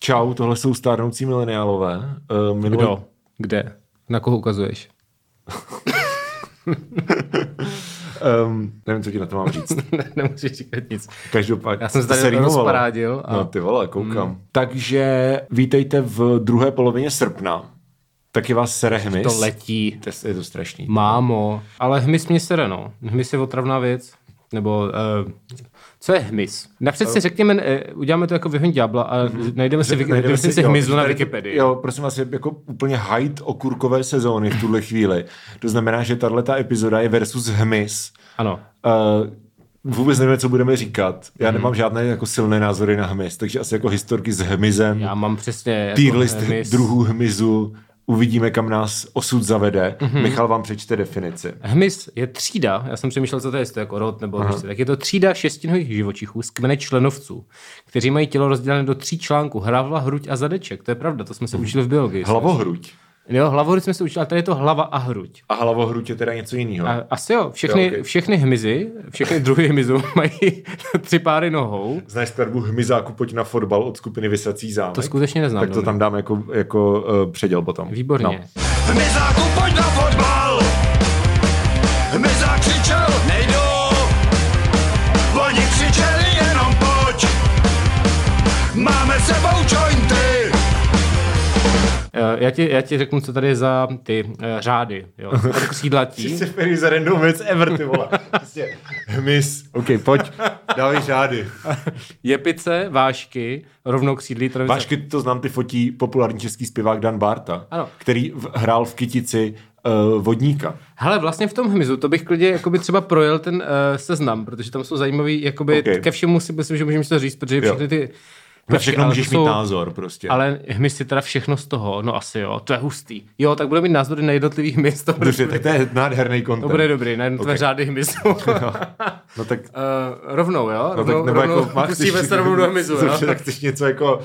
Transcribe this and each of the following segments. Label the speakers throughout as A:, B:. A: Čau, tohle jsou stárnoucí mileniálové. Uh, minulý...
B: Kdo? Kde? Na koho ukazuješ?
A: um, nevím, co ti na to mám říct.
B: ne, nemůžeš říkat nic.
A: Každopádně.
B: Já jsem se tady
A: jste rýmovala.
B: rozparádil a- Hmm.
A: No ty vole, koukám. Takže vítejte v druhé polovině srpna. Taky vás sere hmyz.
B: To letí.
A: To je- Je to strašný.
B: Mámo. Ale hmyz mě sere, no. Hmyz je otravná věc. Nebo, uh, co je hmyz? Napřed si řekněme, uh, uděláme to jako vyhoň ďábla a najdeme si, Wiki- najdeme si, si
A: jo,
B: hmyzu na
A: tady-
B: Wikipedii.
A: Jo, prosím vás, je jako úplně hajt okurkové sezóny v tuhle chvíli. To znamená, že tahle epizoda je versus hmyz.
B: Ano.
A: Uh, vůbec nevíme, co budeme říkat. Já
B: Hmm.
A: nemám žádné jako silné názory na hmyz, takže asi jako historky s hmyzem,
B: Já mám přesně jako
A: tier list
B: hmyz.
A: druhů hmyzu, uvidíme, kam nás osud zavede.
B: Mhm.
A: Michal vám přečte definici.
B: Hmyz je třída, já jsem přemýšlel, co to je, jestli to je jako rod nebo hmyz, tak je to třída šestinových živočichů z kmene členovců, kteří mají tělo rozdělené do tří článků, hlava, hruď a zadeček. To je pravda, to jsme se učili v biologii.
A: Hlavohruď.
B: Jo, hlavu hruď jsme se učili, ale tady je to hlava a hruď.
A: A hlavohruď je teda něco jiného.
B: A, asi jo, všechny,
A: Jo,
B: jo,
A: okej.
B: okay. všechny hmyzy, všechny druhy hmyzu mají tři páry nohou.
A: Znáš skladbu Hmyzáku pojď na fotbal od skupiny Vysací zámek?
B: To skutečně neznám,
A: Tak to
B: Dominik.
A: tam dáme jako, jako uh, předěl potom.
B: Výborně.
A: No.
B: No.
C: Hmyzáku, pojď na fotbal! Hmyzák křičel, nejdu! Oni křičeli jenom pojď! Máme s sebou jointy!
B: Eh, Já, ti, já ti řeknu, co tady je za ty uh, řády. Jo. Od křídlatí.
A: Jsi se za random věc ever, ty vole. Prostě hmyz. OK, pojď, dávej řády.
B: Jepice, vášky, rovnokřídlí, travice.
A: Vášky to znám, ty fotí populární český zpěvák Dan Barta,
B: Ano.
A: který v, hrál v kytici uh, vodníka.
B: Hele, vlastně v tom hmyzu, to bych klidně jakoby třeba projel ten uh, seznam, protože tam jsou zajímavý, jakoby
A: Ok.
B: okay. ke všemu si myslím, že můžeme to říct, protože všechny ty...
A: Na
B: tašky,
A: všechno
B: ale to
A: můžeš mít názor prostě.
B: Ale hmyz je teda všechno z toho, no asi jo, to je hustý. Jo, tak budeme mít názory na jednotlivých hmyz, to bude,
A: Dobře, tak to je nádherný kontent.
B: to bude dobrý, na jednotlivé
A: Ok.
B: okay. řády hmyzu. no.
A: No tak,
B: rovnou, jo?
A: no tak
B: Rovnou, rovnou pusíme se rovnou do hmyzu, jo?
A: Dobře, tak chceš něco jako...
B: Uh,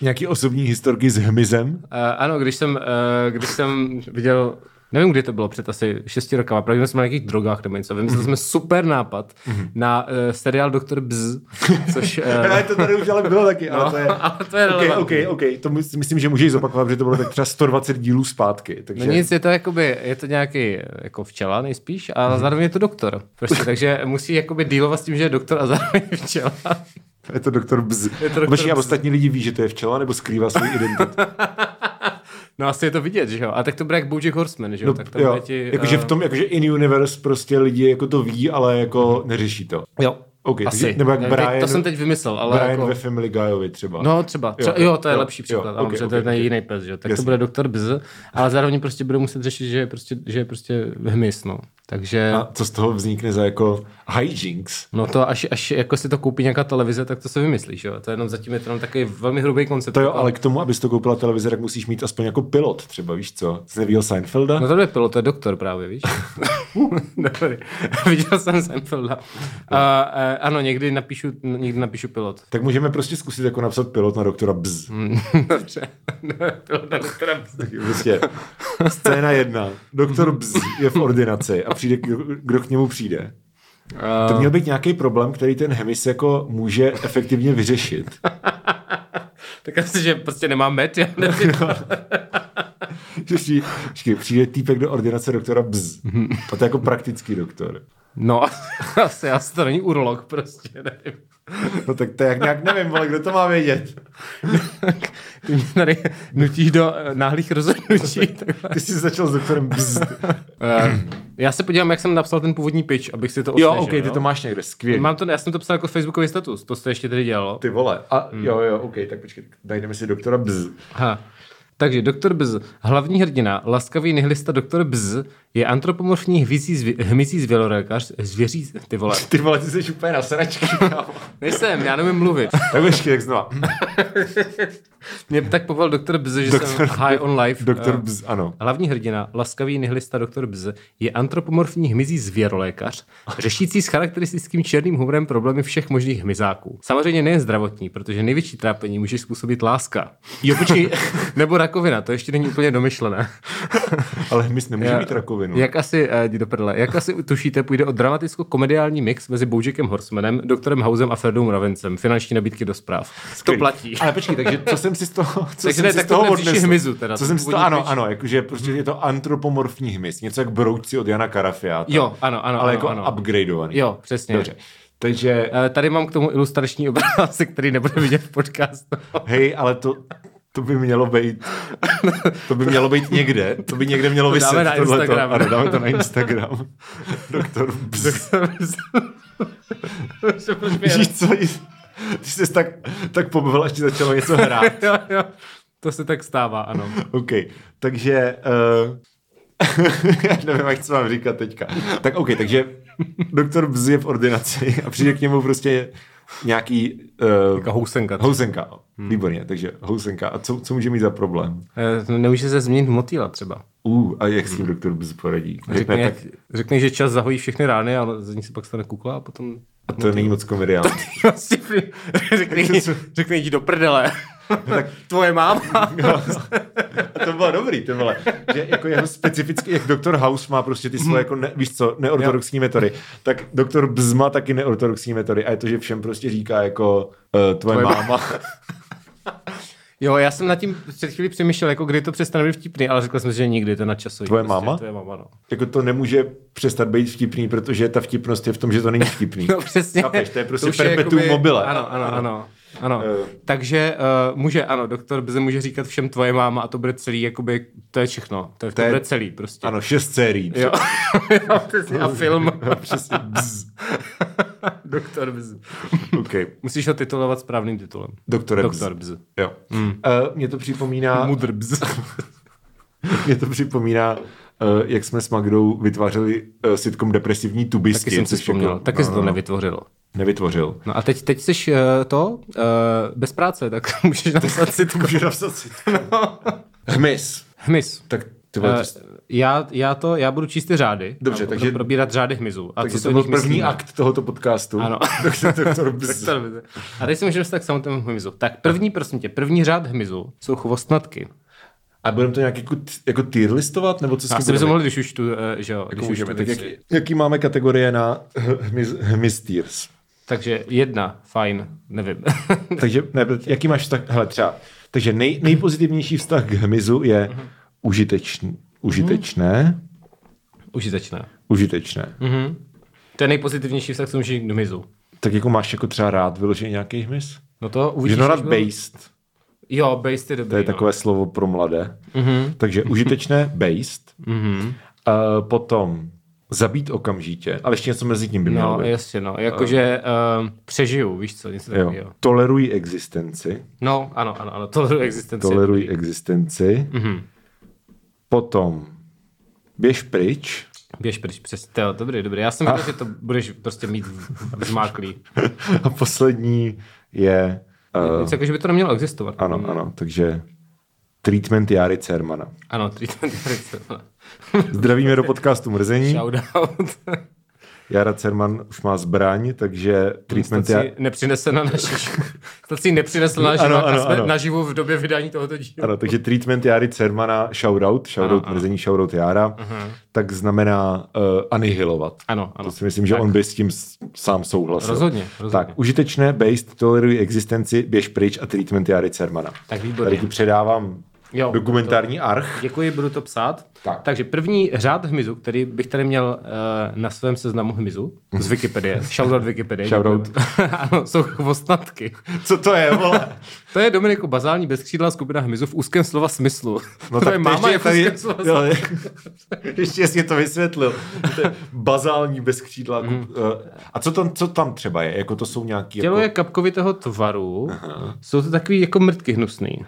A: Nějaký osobní historky s hmyzem?
B: Uh, ano, když jsem, uh, když jsem viděl, nevím, kdy to bylo před asi šesti rokama, pravděpodobně jsme na nějakých drogách nebo něco,
A: Mhm.
B: vymysleli jsme super nápad na uh, seriál Doktor Bz, což...
A: Ne,
B: Uh,
A: to tady už Mhm. ale bylo taky, ale
B: No,
A: to je...
B: ale to je
A: OK, OK,
B: relevantní.
A: OK, to mys- myslím, že můžeš zopakovat, protože to bylo tak třeba 120 dílů zpátky,
B: No
A: takže...
B: nic, je to jakoby, je to nějaký jako včela nejspíš, a
A: Mhm.
B: zároveň je to doktor. Prostě, takže musí jakoby dealovat s tím, že je doktor a zároveň je včela.
A: Je to doktor Bz. Je
B: doktor
A: a
B: Bz.
A: ostatní lidi ví, že to je včela, nebo skrývá svou identitu.
B: No asi je to vidět, že jo? A tak to bude jak Bojack Horseman, že jo?
A: No,
B: No, tak tam
A: jo,
B: bude ti...
A: jakože
B: eh,
A: v tom, jakože in universe prostě lidi jako to ví, ale jako neřeší to.
B: Jo,
A: OK, takže-
B: asi.
A: nebo jak
B: Ne,
A: Brian,
B: teď, to jsem teď vymyslel, ale
A: Brian
B: jako...
A: ve Family Guyovi třeba.
B: No, třeba. třeba jo, jo, to je jo, lepší příklad. Jo, ano,
A: ok,
B: okay, to
A: ok,
B: je ten
A: ok.
B: jiný pes, že? jo. Tak
A: Jasně.
B: to bude doktor Bz, ale zároveň prostě bude muset řešit, že je prostě, že je prostě hmyz, no. Takže...
A: A co z toho vznikne za jako hijinks?
B: No to až, až jako si to koupí nějaká televize, tak to se vymyslí, že jo? To je jenom zatím je to jenom takový velmi hrubý koncept.
A: To jo, ale k tomu, abys to koupila televize, tak musíš mít aspoň jako pilot třeba, víš co? Jsi neviděl Seinfelda?
B: No to je pilot, to je doktor právě, víš? Dobrý. Viděl jsem Seinfelda. A, a, ano, někdy napíšu, někdy napíšu pilot.
A: Tak můžeme prostě zkusit jako napsat pilot na doktora Bz.
B: Dobře. pilot na doktora Bz.
A: Taky Prostě scéna jedna. Doktor Bz je v ordinaci a přijde, kdo, kdo k němu přijde.
B: A-
A: To měl být nějaký problém, který ten hemis jako může efektivně vyřešit.
B: Tak asi, že prostě nemám med, já nevím.
A: Že přijde, počkej, přijde týpek do ordinace doktora Bz. A to je jako praktický doktor.
B: No, asi, asi to není urolog prostě, nevím.
A: No tak to je jak nějak nevím, ale kdo to má vědět?
B: Ty mě tady nutíš do eh, náhlých rozhodnutí. takhle.
A: Ty jsi začal s doktorem Bz.
B: Eh, Já se podívám, jak jsem napsal ten původní pitch, abych si to
A: Jo,
B: osvěžil.
A: ok, ty to máš někde, skvělý.
B: Mám to, já jsem to psal jako facebookový status, to jste ještě tady dělalo.
A: Ty vole. A
B: Hmm.
A: jo, jo, ok, tak počkej, najdeme si doktora Bz.
B: Aha. Takže doktor Bz, hlavní hrdina, laskavý nihilista doktor Bz, je antropomorfní hmyzí, zvě, hmyzí zvělorékař, zvěří, ty vole.
A: Ty vole, ty jsi úplně na sračky, kámo.
B: Nejsem, já nevím mluvit.
A: Tak počkej, jak znova.
B: Mě tak povolal doktor Bz, že doktor, jsem high on life.
A: Doktor
B: Eh,
A: Bz, ano.
B: Hlavní hrdina, laskavý nihilista doktor Bz, je antropomorfní hmyzí zvěrolékař, řešící s charakteristickým černým humorem problémy všech možných hmyzáků. Samozřejmě nejen zdravotní, protože největší trápení může způsobit láska. Jo, počkej, nebo rakovina, to ještě není úplně domyšlené.
A: Ale hmyz nemůže
B: Já-
A: mít rakovinu.
B: Jak asi, eh, jdi do prdele, jak asi tušíte, půjde o dramaticko-komediální mix mezi Boužekem Horsemanem, doktorem Hausem a Fredou Mravencem. Finanční nabídky do zpráv. To platí.
A: Ale počkej, takže co jsem si z toho, co
B: Takže
A: jsem
B: ne,
A: si
B: tak
A: z toho
B: to bude příští
A: odnesl?
B: hmyzu teda,
A: co
B: to
A: jsem si z toho,
B: původní
A: ano,
B: příští.
A: ano, jakože prostě je to antropomorfní hmyz, něco jak brouci od Jana Karafiáta.
B: Jo, ano, ano,
A: Ale
B: ano,
A: jako
B: ano.
A: upgradeovaný.
B: Jo, přesně.
A: Dobře. Takže,
B: Eh, Tady mám k tomu ilustrační obrázek, který nebude vidět v podcastu.
A: hej, ale to, to by mělo být, to by mělo být někde, to by někde mělo
B: To dáme
A: vyset.
B: na
A: tohleto.
B: Instagram.
A: Ano, dáme to na Instagram. Doktor Bz. Víš co, ty jsi tak, tak pobavil, až ti začalo něco hrát.
B: jo, jo. To se tak stává, ano.
A: OK, takže... Uh, já nevím, jak co mám říkat teďka. Tak OK, takže doktor Bz je v ordinaci a přijde k němu prostě nějaký... Uh,
B: Jako Hmm. housenka.
A: housenka. Výborně, takže housenka. A co, co může mít za problém?
B: Eh, Nemůže se změnit motýla třeba.
A: Uh, a jak s tím doktor Bz poradí?
B: Řekne,
A: Řekne,
B: jak,
A: tak
B: řekne, že čas zahojí všechny rány, ale z ní se pak stane kukla a potom...
A: a to není moc komediální.
B: Prostě řekne, jí- řekne jí do prdele. Tak tvoje máma.
A: A to bylo dobrý, ty vole. Že jako jeho specifický, jak doktor House má prostě ty svoje, jako ne, víš co, neortodoxní metody, tak doktor Bz má taky neortodoxní metody a je to, že všem prostě říká jako uh, tvoje,
B: Tvoje
A: tvoje
B: má-
A: máma.
B: Jo, já jsem nad tím před chvílí přemýšlel, jako kdy to přestane být vtipný, ale řekl jsem si, že nikdy to na časový.
A: Tvoje
B: prostě,
A: máma?
B: Tvoje máma, no.
A: jako to nemůže přestat být vtipný, protože ta vtipnost je v tom, že to není vtipný.
B: No přesně.
A: Chápeš, to je prostě
B: už
A: perpetuum mobile.
B: Ano, ano, ano. ano.
A: Eh.
B: Takže uh, může, ano, doktor Bze může říkat všem tvoje máma a to bude celý, jakoby, to je všechno. To, je, to,
A: je-
B: bude celý prostě.
A: Ano, šest sérií.
B: Jo. Jo, přesně, a film.
A: Přesně. Bzz.
B: doktor Bze.
A: Okay.
B: Musíš ho titulovat správným titulem.
A: Doktore Bz.
B: Doktor Bze.
A: Jo. Mm. Uh, mě to připomíná,
B: Mudr Bze.
A: mě to připomíná uh, jak jsme s Magdou vytvářeli uh, sitcom Depresivní tubisti.
B: Taky jsem si
A: což
B: vzpomněl.
A: jako-
B: Taky se
A: no,
B: to
A: no,
B: nevytvořilo.
A: Nevytvořil.
B: No a teď, teď jsi uh, to uh, bez práce, tak můžeš napsat si to.
A: Může napsat sitcom. Hmyz.
B: Hmyz.
A: Tak ty vole,
B: Uh,
A: Eh, to jsi-
B: já, já, to, já budu číst ty řády.
A: Dobře,
B: a budu
A: takže-
B: Probírat řády hmyzu. A
A: takže
B: co
A: to
B: o
A: byl
B: nich
A: první
B: myslíme.
A: akt tohoto podcastu.
B: Ano.
A: Doktor, doktor Bz.
B: Tak to dobře. A teď se můžeme dostat k samotnému hmyzu. Tak první, prosím tě, první řád hmyzu jsou chvostnatky.
A: A budeme to nějak jako, t- jako tier listovat? Nebo co s tím
B: Asi bychom
A: budeme-
B: mohli, když už tu, eh, že jo, když už tu
A: Jako Můžeme, tak
B: teď-
A: jak, jaký máme kategorie na Hmistiers?
B: Takže jedna, fajn, nevím.
A: Takže ne, jaký máš vztah, hele třeba, takže nej, nejpozitivnější vztah k hmyzu je užitečný, užitečné,
B: Užitečné.
A: užitečné.
B: To je nejpozitivnější vztah, co může jít k hmyzu.
A: Tak jako máš jako třeba rád vyložený nějaký hmyz?
B: No to
A: Že
B: uvidíš.
A: no rád
B: až budou-
A: based,
B: Jo, based je dobrý.
A: to je
B: no.
A: takové slovo pro mladé. Takže užitečné, based. A potom zabít okamžitě, ale ještě něco mezi tím by mělo
B: No,
A: být.
B: jasně, no. Jakože uh, přežiju, víš co, něco
A: Jo.
B: takového.
A: Tolerují existenci.
B: No, ano, ano, ano, toleruji existenci.
A: Toleruj existenci. Mm-hmm. Potom běž pryč.
B: Běž pryč, přes, to, dobrý, dobrý. Já jsem myslel, že to budeš prostě mít v- zmáklý.
A: A poslední je... Uh,
B: Něco jako, že by to nemělo existovat.
A: ano, ano, takže treatment Jary Cermana.
B: Ano, treatment Erickson.
A: Zdravíme do podcastu Mrzení.
B: Shout out.
A: Jara Cerman už má zbraň, takže treatment Jary...
B: Stací nepřinese na naši... Stací nepřinesl na živo,
A: Ano,
B: ano,
A: ano,
B: jsme
A: ano.
B: naživu v době vydání tohoto dílu.
A: Ano, takže treatment Jary Cermana, shoutout, shoutout
B: ano. Mhm.
A: mrzení, shoutout Jara, tak znamená uh, anihilovat.
B: Ano, ano.
A: To si myslím, že on by s tím s- sám souhlasil.
B: Rozhodně, rozhodně.
A: Tak, užitečné, based, toleruji existenci, běž pryč a treatment Jary Cermana.
B: Tak
A: Tady
B: výborně.
A: ti předávám
B: Jo,
A: dokumentární arch.
B: Děkuji, budu to psát.
A: Tak.
B: Takže první řád hmyzu, který bych tady měl uh, na svém seznamu hmyzu
A: Mhm.
B: z Wikipedie. Shoutout Wikipedie.
A: Shoutout.
B: děkujeme. ano, jsou chvostnatky.
A: Co to je, vole?
B: To je Dominiku Bazální bezkřídla skupina hmyzu v úzkém slova smyslu. No Tvoje máma je v
A: tady,
B: úzkém slova smyslu.
A: jo, ještě jasně to vysvětlil. To je bazální bez křídla. Mm. A co tam, co tam třeba je? Jako to jsou nějaký...
B: Hmm. Tělo
A: jako...
B: je kapkovitého tvaru, jsou to takový jako mrtky hnusný.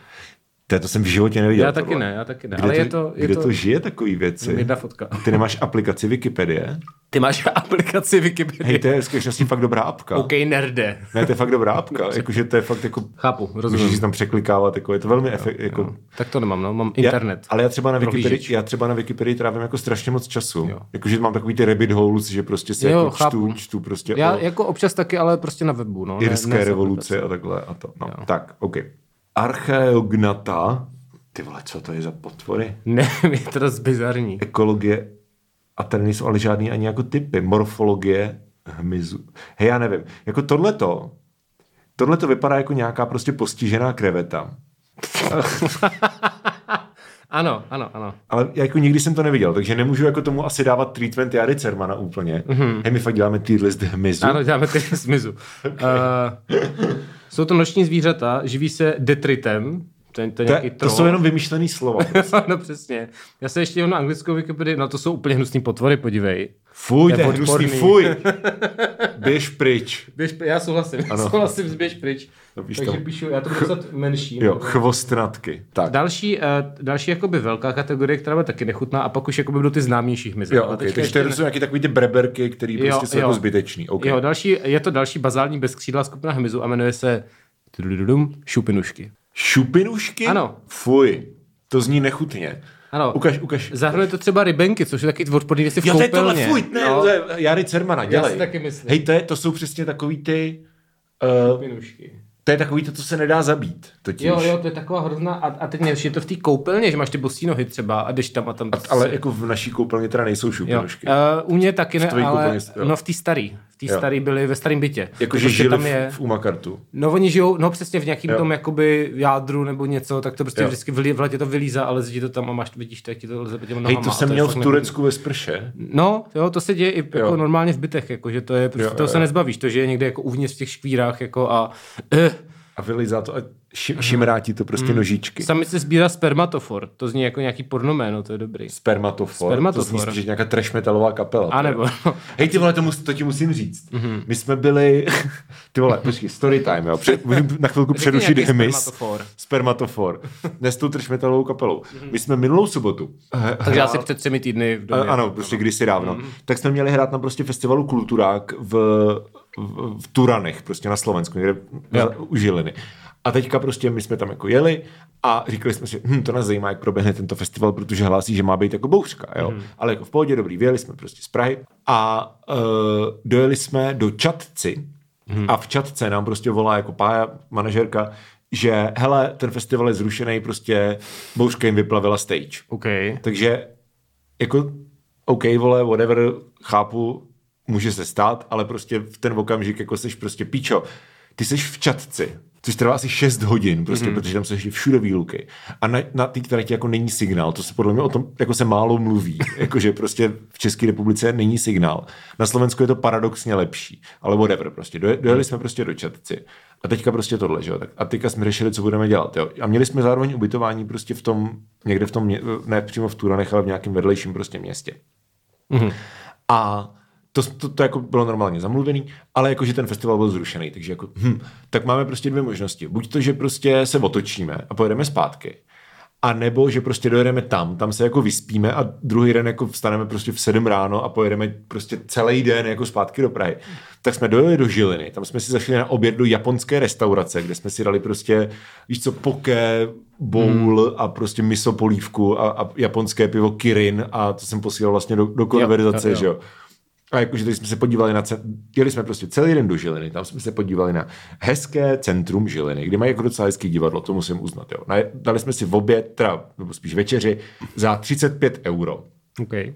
A: To, to jsem v životě neviděl.
B: Já taky
A: tohle.
B: ne, já taky ne.
A: Kde
B: Ale
A: to,
B: je to- je
A: kde to,
B: to-
A: žije takový věci?
B: Jedna fotka.
A: Ty nemáš aplikaci Wikipedie?
B: Ty máš aplikaci Wikipedia.
A: Hej, to je v skutečnosti fakt dobrá apka.
B: OK, nerde.
A: Ne, to je fakt dobrá apka. Jakože to je fakt jako...
B: Chápu,
A: Můžeš
B: rozumím.
A: si tam překlikávat, jako je to velmi efekt, jako...
B: Tak to nemám, no, mám
A: Já-
B: internet.
A: ale já třeba, na Wikipedii,
B: Prohlížeč.
A: já třeba na Wikipedii trávím jako strašně moc času. Jakože mám takový ty rabbit holes, že prostě si
B: Jo,
A: jako
B: chápu.
A: čtu, čtu prostě
B: Já
A: o
B: jako občas taky, ale prostě na webu, no. ne-
A: irské
B: ne z
A: revoluce
B: aplikace.
A: a takhle a to. No, tak, OK. Archeognata, ty vole, co to je za potvory?
B: Ne, je to dost bizarní.
A: Ekologie, a tady nejsou ale žádný ani jako typy. Morfologie, hmyzu. Hej, já nevím. Jako tohleto, tohleto vypadá jako nějaká prostě postižená kreveta.
B: Ano, ano, ano.
A: Ale já jako nikdy jsem to neviděl, takže nemůžu jako tomu asi dávat treatment Jary Cermana úplně. Mm-hmm. Hej, my fakt děláme tier list hmyzu.
B: Mhm. Ano, děláme ty zmizu. uh, jsou to noční zvířata, živí se detritem, to je, to je
A: to,
B: nějaký
A: je- to jsou jenom vymyšlený slova.
B: no přesně. Já se ještě jenom na anglickou Wikipedii, no to jsou úplně hnusný potvory, podívej.
A: Fuj,
B: To je
A: to je hnusný,
B: odporný.
A: fuj. Běž pryč.
B: Běž, pr- já souhlasím, ano. souhlasím, zběž pryč.
A: Napíš
B: Takže
A: tam.
B: píšu, já to budu psat menší.
A: No,
B: no.
A: Jo, chvostnatky. Tak.
B: Další, uh, další jakoby velká kategorie, která byla taky nechutná, a pak už jakoby do ty známějších mezi.
A: Jo,
B: Ale
A: okay,
B: teďka
A: takže
B: ještě
A: to
B: ne-
A: jsou nějaký takový ty breberky, který
B: Jo,
A: prostě jsou
B: jo.
A: jako zbytečný. Okay.
B: Jo, další, je to další bazální bezkřídlá skupina hmyzu a jmenuje se tudududum, šupinušky.
A: Šupinušky?
B: Ano.
A: Fuj, to zní nechutně.
B: Ano.
A: Ukaž, ukaž.
B: Zahrnuje to třeba rybenky, což je taky odporný věci v
A: Jo, to je
B: koupelně.
A: tohle, fuj, ne,
B: No.
A: to je Jary Cermana, dělej.
B: si taky myslím.
A: Hej, to, je, to jsou přesně takový ty... Uh,
B: Šupinušky.
A: to je takový to, co se nedá zabít, totiž.
B: Jo, jo, to je taková hrozná, a, a teď nevím, je to v té koupelně, že máš ty bosí nohy třeba a jdeš tam a tam.
A: Ale jako v naší koupelně teda nejsou
B: jo.
A: šupinušky.
B: Uh, u mě taky ne,
A: tvojí
B: ale
A: koupelně, jo.
B: no v té starý, v té
A: Jo.
B: starý byly ve starém bytě.
A: Jakože
B: Prostě
A: žili
B: tam
A: v,
B: je,
A: v Umakartu.
B: No oni žijou, no přesně v nějakým
A: Jo.
B: tom jakoby jádru nebo něco, tak to prostě
A: Jo.
B: vždycky v, li- v letě to vylízá, ale zjistí to tam a máš, vidíš, tak ti to lze těma
A: Hej,
B: nohama.
A: to
B: a
A: jsem
B: je
A: měl
B: fakt
A: v
B: nevhodný.
A: Turecku ve sprše.
B: No, jo, to se děje i jako
A: Jo.
B: normálně v bytech, jako, že to je, prostě
A: Jo,
B: jo,
A: jo,
B: toho se
A: jo.
B: nezbavíš, to, že je někde jako uvnitř v těch škvírách jako a eh,
A: A vylizá to a
B: Mhm.
A: šim, šimrátí to prostě nožičky.
B: samice sbírá spermatofor, to zní jako nějaký pornoméno, to je dobrý.
A: Spermatofor.
B: Spermatofor.
A: To zní spíš jak nějaká trash metalová kapela.
B: A nebo- no, Mhm.
A: Hej, ty vole, to, mus, to ti musím říct. Mm-hmm. My jsme byli... Ty vole, počkej, story time, jo. Před, můžu na chvilku přerušit
B: nějaký
A: hmyz.
B: spermatofor. Mhm.
A: Spermatofor. Ne s tou trash metalovou kapelou. Mm-hmm. My jsme minulou sobotu...
B: Takže asi před třemi týdny v
A: A-
B: domě.
A: Ano, prostě kdysi dávno. Mm. Tak jsme měli hrát na prostě festivalu Kulturák v, v, v Turanech, prostě na Slovensku, někde
B: Jo.
A: za- u Žiliny. A teďka prostě my jsme tam jako jeli a říkali jsme si, hm, to nás zajímá, jak proběhne tento festival, protože hlásí, že má být jako bouřka, jo. Mm. Ale jako v pohodě, dobrý, vyjeli jsme prostě z Prahy a uh, dojeli jsme do Čatci a v Čatce nám prostě volá jako pája, manažerka, že hele, ten festival je zrušený, prostě bouřka jim vyplavila stage.
B: OK.
A: Takže jako OK, vole, whatever, chápu, může se stát, ale prostě v ten okamžik jako seš prostě píčo. Ty seš v čatci, což trvá asi 6 hodin, prostě, mm-hmm. protože tam jsou ještě všude výluky. A na, na té trati jako není signál, to se podle mě o tom jako se málo mluví, jakože prostě v České republice není signál. Na Slovensku je to paradoxně lepší, ale whatever, prostě doje, dojeli jsme prostě do čatci. A teďka prostě tohle, že jo, tak a teďka jsme řešili, co budeme dělat, jo. A měli jsme zároveň ubytování prostě v tom, někde v tom, mě- ne přímo v Turanech, ale v nějakém vedlejším prostě městě. A to, to, to jako bylo normálně zamluvený, ale jakože ten festival byl zrušený, takže jako, hm, tak máme prostě dvě možnosti. Buď to, že prostě se otočíme a pojedeme zpátky, a nebo že prostě dojedeme tam, tam se jako vyspíme a druhý den jako vstaneme prostě v 7 ráno a pojedeme prostě celý den jako zpátky do Prahy. Tak jsme dojeli do Žiliny, tam jsme si zašli na oběd do japonské restaurace, kde jsme si dali prostě, víš co, poké, bowl
B: Hmm.
A: a prostě miso polívku a, a japonské pivo Kirin a to jsem posílal vlastně do, do konverzace,
B: jo, jo.
A: že jo. A jakože tady jsme se podívali na, cen- jeli jsme prostě celý den do Žiliny, tam jsme se podívali na hezké centrum Žiliny, kde mají jako docela hezký divadlo, to musím uznat, jo. Na, dali jsme si v oběd, teda, nebo spíš večeři, za 35 euro.
B: OK.
A: Uh,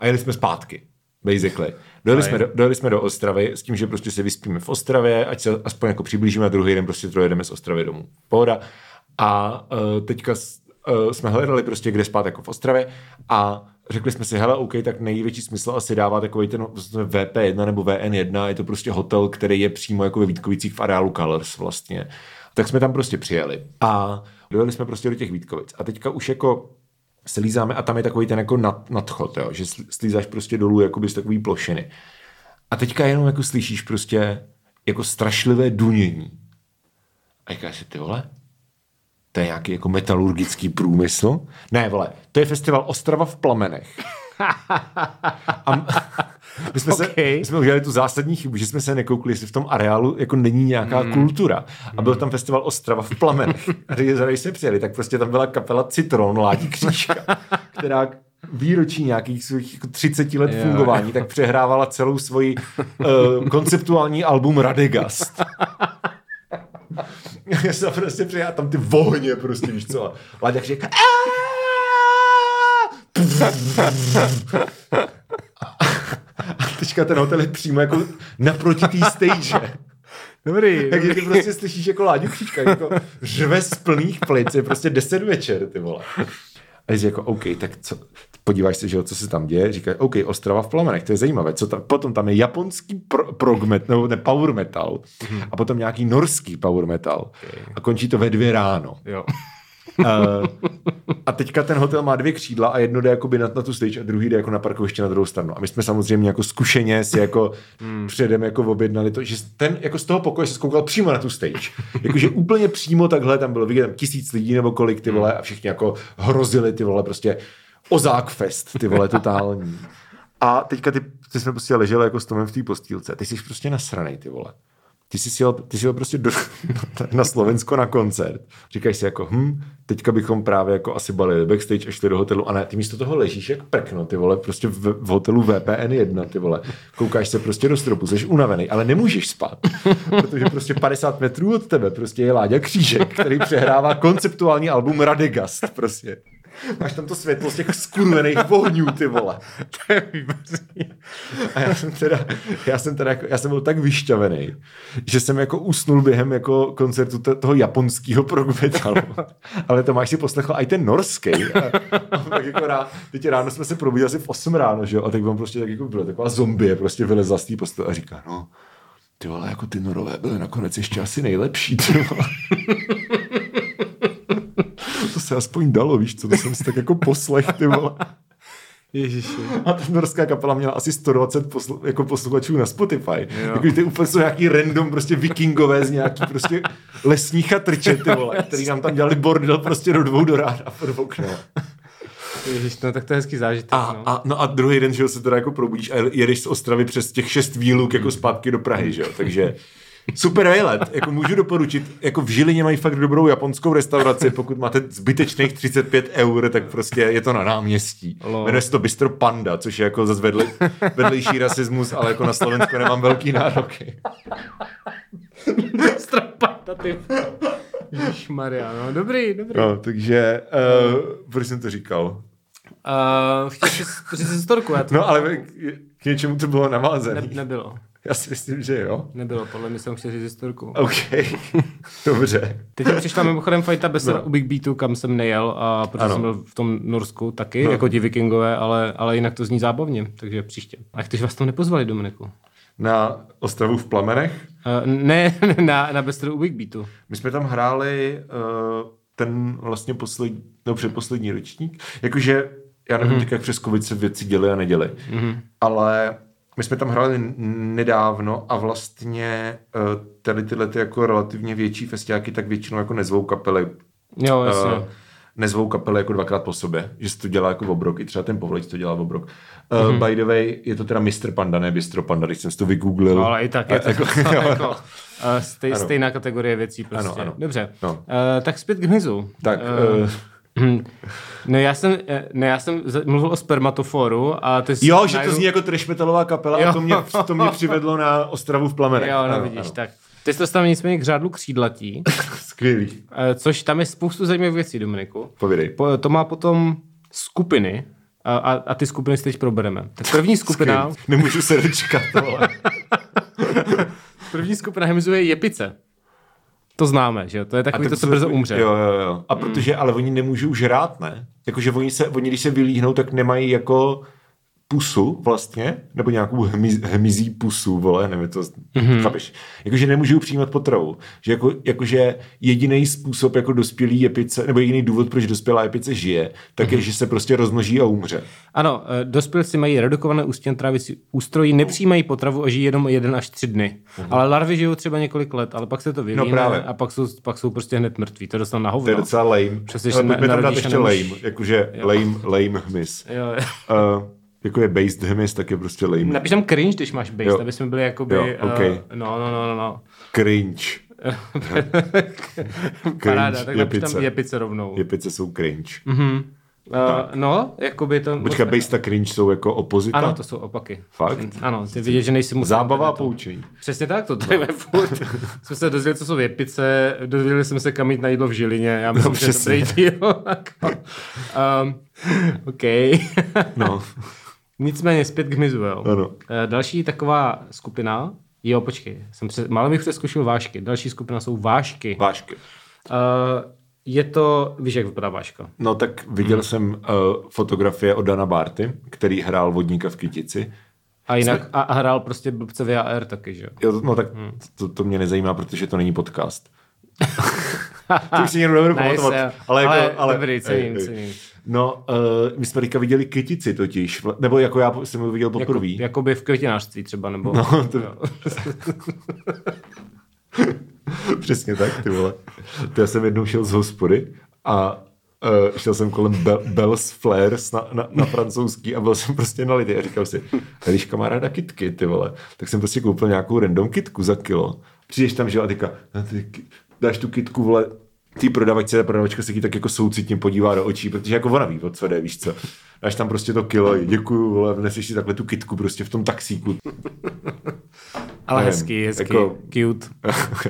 A: a jeli jsme zpátky, basically. Dojeli
B: Fajn.
A: jsme, do, dojeli jsme do Ostravy s tím, že prostě se vyspíme v Ostravě, ať se aspoň jako přiblížíme a druhý den prostě trojedeme z Ostravy domů. Pohoda. A uh, teďka s- uh, jsme hledali prostě, kde spát jako v Ostravě a řekli jsme si, hele, OK, tak největší smysl asi dává takový ten prostě VP1 nebo VN1, je to prostě hotel, který je přímo jako ve Vítkovicích v areálu Colors vlastně. Tak jsme tam prostě přijeli a dojeli jsme prostě do těch Vítkovic. A teďka už jako slízáme a tam je takový ten jako nad, nadchod, jo, že sl- slízáš prostě dolů jakoby z takový plošiny. A teďka jenom jako slyšíš prostě jako strašlivé dunění. A říkáš si, ty vole, to je nějaký jako metalurgický průmysl. Ne, vole, to je festival Ostrava v plamenech. A m- my jsme, okay. se,
B: Okay.
A: my jsme udělali tu zásadní chybu, že jsme se nekoukli, jestli v tom areálu jako není nějaká mm. kultura. A byl tam festival Ostrava v plamenech. A když za- když jsme přijeli, tak prostě tam byla kapela Citron, Ládí Křížka, která k výročí nějakých svých jako 30 let
B: Jo.
A: fungování, tak přehrávala celou svoji uh, konceptuální album Radegast. Já jsem prostě přijel tam ty vohně prostě, víš co. A Láďa říká, "Aaaa!" a teďka ten hotel je přímo jako naproti té stage.
B: Dobrý.
A: Takže ty prostě slyšíš jako Láďu Kříčka, jako řve z plných plic, je prostě 10 večer, ty vole. A jsi jako, OK, tak co, podíváš se, že jo, co se tam děje, říkáš, OK, Ostrava v plamenech, to je zajímavé, co tam, potom tam je japonský pro, prog met, nebo ne, power metal, a potom nějaký norský power metal, a končí to ve dvě ráno.
B: Jo.
A: Eh, a teďka ten hotel má dvě křídla a jedno jde jakoby na, na tu stage a druhý jde jako na parkoviště na druhou stranu. A my jsme samozřejmě jako zkušeně si jako předem jako objednali to, že ten jako z toho pokoje se skoukal přímo na tu stage. Jakože úplně přímo takhle tam bylo vidět tam tisíc lidí nebo kolik ty vole a všichni jako hrozili ty vole prostě ozák fest ty vole totální. A teďka ty, ty jsme prostě leželi jako s Tomem v té postýlce. Ty jsi prostě nasranej, ty vole. Ty jsi jel, ty jsi jel prostě do, na Slovensko na koncert. Říkáš si jako, hm, teďka bychom právě jako asi balili backstage a šli do hotelu. A ne, ty místo toho ležíš jak prkno, ty vole, prostě v, v hotelu VPN 1, ty vole. Koukáš se prostě do stropu, jsi unavený, ale nemůžeš spát. Protože prostě 50 metrů od tebe prostě je Láďa Křížek, který přehrává konceptuální album Radegast, prostě. Máš tam to světlo z těch skurvených ohňů, ty vole.
B: To je výborný.
A: A já jsem teda, já jsem teda, jako, já jsem byl tak vyšťavený, že jsem jako usnul během jako koncertu t- toho japonského progmetalu. Ale to máš si poslechl i ten norský. A, a pak jako rá, teď ráno jsme se probudili asi v 8 ráno, že jo? A tak vám prostě tak jako bylo taková zombie, prostě vylezla z té postele a říká, no, ty vole, jako ty norové byly nakonec ještě asi nejlepší, ty vole. To se aspoň dalo, víš co, to jsem si tak jako poslech, ty vole.
B: Ježiši.
A: A ta norská kapela měla asi 120 poslu, jako posluchačů na Spotify.
B: Jo.
A: Jako, ty úplně jsou nějaký random prostě vikingové z nějaký prostě lesní chatrče, ty vole, který nám tam dělali bordel prostě do dvou do rána a pod okno.
B: Ježiš, no tak to je hezký zážitek.
A: A,
B: no.
A: a, no a druhý den, že jo, se teda jako probudíš a jedeš z Ostravy přes těch šest výluk
B: Hmm.
A: jako zpátky do Prahy, že jo, takže super výlet, jako můžu doporučit, jako v Žilině mají fakt dobrou japonskou restauraci, pokud máte zbytečných 35 eur, tak prostě je to na náměstí.
B: Lol.
A: Jmenuje se to Bistro Panda, což je jako zase vedle, vedlejší rasismus, ale jako na Slovensku nemám velký nároky.
B: Strapata, ty. Maria, no dobrý, dobrý.
A: No, takže, uh, proč jsem to říkal?
B: Uh, chtěl jsi říct historku, já to
A: No, ale k něčemu to bylo navázané.
B: ne, nebylo.
A: Já si myslím, že jo.
B: Nebylo, podle mě jsem chtěl říct historku.
A: OK, dobře.
B: Teď mi přišla mimochodem fajta beseda
A: No.
B: no. u Big Beatu, kam jsem nejel, a protože
A: Ano.
B: ano. jsem byl v tom Norsku taky, no. jako ti vikingové, ale, ale jinak to zní zábavně, takže příště. A jak to, že vás tam nepozvali, Dominiku? Uh,
A: na Ostravu v Plamenech.
B: ne, na, na besedu u Big Beatu.
A: My jsme tam hráli uh, ten vlastně poslední, no předposlední ročník. Jakože, já nevím
B: Mhm.
A: mm-hmm. teď, jak přes covid se věci děly a neděly, mm-hmm. ale my jsme tam hráli n- nedávno a vlastně uh, tady tyhle ty jako relativně větší festiáky tak většinou jako nezvou kapely.
B: Jo, jasně.
A: Eh,
B: Uh,
A: nezvou kapely jako dvakrát po sobě, že se to dělá jako v obrok, i třeba ten povleč to dělá v obrok. Uh,
B: Mhm.
A: mm-hmm. By the way, je to teda Mr. Panda, ne Bistro Panda, když jsem si to vygooglil.
B: No, ale i tak je to
A: Jako-
B: jako,
A: jo.
B: jako eh, stej,
A: Ano.
B: stejná kategorie věcí prostě.
A: Ano, ano.
B: Dobře.
A: No.
B: Eh, tak zpět k hmyzu.
A: Tak,
B: Eh,
A: eh.
B: hm. no, já jsem, eh, ne, já jsem za- mluvil o spermatoforu a ty jsi
A: Jo, že to
B: najednou-
A: zní jako trash metalová kapela a
B: Jo.
A: to mě, to mě přivedlo na Ostravu v plamenech.
B: Jo, no vidíš, tak. Ty jsi dostal nicméně k řádlu křídlatí,
A: Skvělý.
B: eh, což tam je spoustu zajímavých věcí, Dominiku.
A: Povědej.
B: Po- To má potom skupiny a, a, a ty skupiny si teď probereme. Tak první skupina,
A: Skvělý. Nemůžu se dočkat, vole.
B: první skupina Hemzu je Jepice. To známe, že jo? To je takový, to, co brzo umře.
A: Jo, jo, jo. A protože, ale oni nemůžou žrát, ne? Jakože oni, se, oni, když se vylíhnou, tak nemají jako pusu vlastně, nebo nějakou hmyz, hmyzí pusu, vole, nevím, to
B: Mhm.
A: mm-hmm. chápeš. Jakože nemůžou přijímat potravu. Že jako, jakože jediný způsob jako dospělý jepice, nebo jediný důvod, proč dospělá jepice žije, tak
B: Mhm.
A: mm-hmm. je, že se prostě rozmnoží a umře.
B: Ano, eh, dospělci mají redukované ústěn trávicí ústrojí, nepřijímají potravu a žijí jenom jeden až tři dny. Ale larvy žijou třeba několik let, ale pak se to vyvíjí
A: Mhm. No právě.
B: a pak jsou, pak jsou prostě hned mrtví. To dostal na hovno.
A: To je docela lame.
B: No. Přesně, že
A: Ale
B: na-
A: pojďme tam dát
B: narodíš a
A: ještě
B: nemůžeš-
A: lame, jakože lame, lame hmyz.
B: Jo, jo.
A: Uh, jako je based hmyz, tak je prostě lame.
B: Napiš tam cringe, když máš base,
A: Jo.
B: aby jsme byli jakoby...
A: Jo, okej.
B: eh, no, no, no, no, no.
A: Cringe.
B: Paráda, tak napiš tam
A: jepice.
B: jepice Mhm. rovnou.
A: Jepice jsou cringe.
B: Uh, no, jakoby to...
A: Počka, based a cringe jsou jako opozita?
B: Ano, to jsou opaky.
A: Fakt?
B: Ano, ty vidět, že nejsi musel.
A: Zábava a
B: na to.
A: poučení.
B: Přesně tak, to tady je furt. jsme se dozvěděli, co jsou věpice, dozvěděli jsme se, kam jít na jídlo v Žilině. Já myslím, no, že
A: přesně.
B: dobrý díl. jako, um, OK.
A: No.
B: Nicméně zpět k hmyzu, jo.
A: Ano.
B: Eh, Další taková skupina, jo, počkej, jsem se, málem bych přeskočil vášky. Další skupina jsou vášky.
A: Vášky.
B: Uh, je to, víš, jak vypadá váška?
A: No tak viděl
B: Mhm.
A: jsem uh, fotografie od Dana Barty, který hrál vodníka v Kytici.
B: A jinak, a, a hrál prostě blbce VAR taky, že jo?
A: Jo, no tak
B: Mhm.
A: to, to mě nezajímá, protože to není podcast. to už si někdo nebudu
B: Nice,
A: pamatovat. jako-
B: jo. Ale dobrý, cením, cením.
A: No, uh, my jsme teďka viděli Kytici totiž, vla- nebo jako já jsem ho viděl
B: Jako,
A: poprvé.
B: jakoby v květinářství třeba, nebo...
A: No, to- Přesně tak, ty vole. To já jsem jednou šel z hospody a uh, šel jsem kolem Be- Bells Flares na, na, na francouzský a byl jsem prostě na lidi a říkal si, když kamaráda kitky, ty vole, tak jsem prostě koupil nějakou random kitku za kilo. Přijdeš tam, že jo, a teďka, "No, ty ki- dáš tu kitku, vole, ty prodavačce, ta prodavačka se ti tak jako soucitně podívá do očí, protože jako ona ví, o co jde, víš co. Dáš tam prostě to kilo, děkuju, vole, vneseš si takhle tu kitku prostě v tom taxíku.
B: Ale
A: Nevím,
B: hezký, hezký,
A: jako-
B: jako... cute.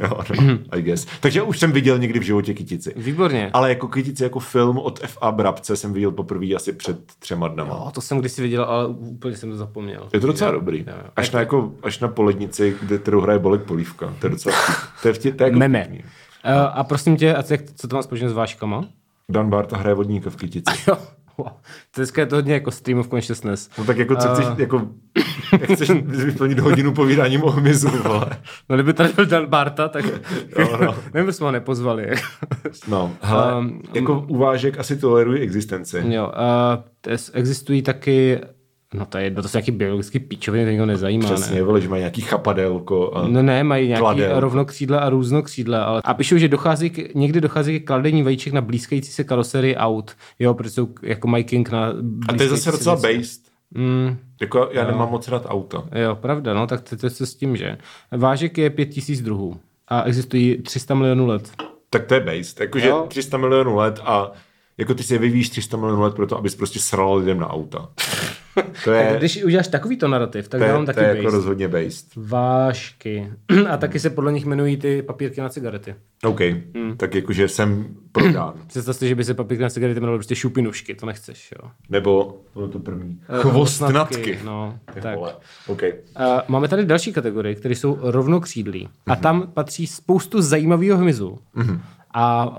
A: jo, no, I guess. Takže už jsem viděl někdy v životě kytici.
B: Výborně.
A: Ale jako kytici jako film od F.A. Brabce jsem viděl poprvé asi před třema dnama.
B: O, to jsem kdysi viděl, ale úplně jsem to zapomněl.
A: Je to docela dobrý.
B: jo.
A: Až na, jako, až na polednici, kde kterou hraje Bolek Polívka. To je docela vtip- to je vtip, to je jako
B: Meme.
A: vtipný.
B: Uh, a prosím tě, a co, jak- co to má společně s váškama?
A: Dan Barta hraje vodníka v kytici.
B: Jo. Wow. To dneska je to hodně jako stream of consciousness.
A: No tak jako, co chceš, jako, jak chceš vyplnit hodinu povídáním o hmyzu, vole.
B: No kdyby tady byl Dan Barta, tak
A: Jo, no.
B: nevím, proč jsme ho nepozvali.
A: No, hele,
B: Um,
A: jako uvážek asi toleruji existenci.
B: jo, uh, to jest- existují taky, no to je jedno, to jsou nějaký biologický píčoviny, to nikoho nezajímá, ne?
A: Přesně, vole, že mají nějaký chapadelko. A...
B: No ne, mají nějaký
A: Kladel.
B: rovnokřídla a různokřídla. Ale... A píšou, že dochází k, někdy dochází k kladení vajíček na blízkající se karoserii aut. Jo, protože jsou k- jako mají king na
A: A to je
B: blízkající
A: zase
B: se
A: docela
B: blízké.
A: based.
B: Mm.
A: Jako já nemám moc rád auta.
B: Jo, pravda, no, tak to je co s tím, že? Vážek je 5000 druhů a existují 300 milionů let.
A: Tak to je based. Jakože
B: Jo.
A: 300 milionů let a jako ty si je vyvíjíš 300 milionů let proto, abys prostě sral lidem na auta. To
B: Tak
A: je,
B: když uděláš takovýto narrativ, tak
A: to
B: dávám
A: je,
B: taky
A: to je
B: base.
A: jako rozhodně based.
B: Vážky. A taky se podle nich jmenují ty papírky na cigarety.
A: OK,
B: Mm.
A: hmm. tak jakože jsem prodán.
B: Představ si, že by se papírky na cigarety jmenovaly prostě šupinušky, to nechceš, jo.
A: Nebo to to první.
B: Eh,
A: Chvostnatky.
B: No,
A: Ty
B: tak.
A: vole. OK.
B: A máme tady další kategorie, které jsou rovnokřídlí. A
A: Mhm.
B: tam patří spoustu zajímavého hmyzu. A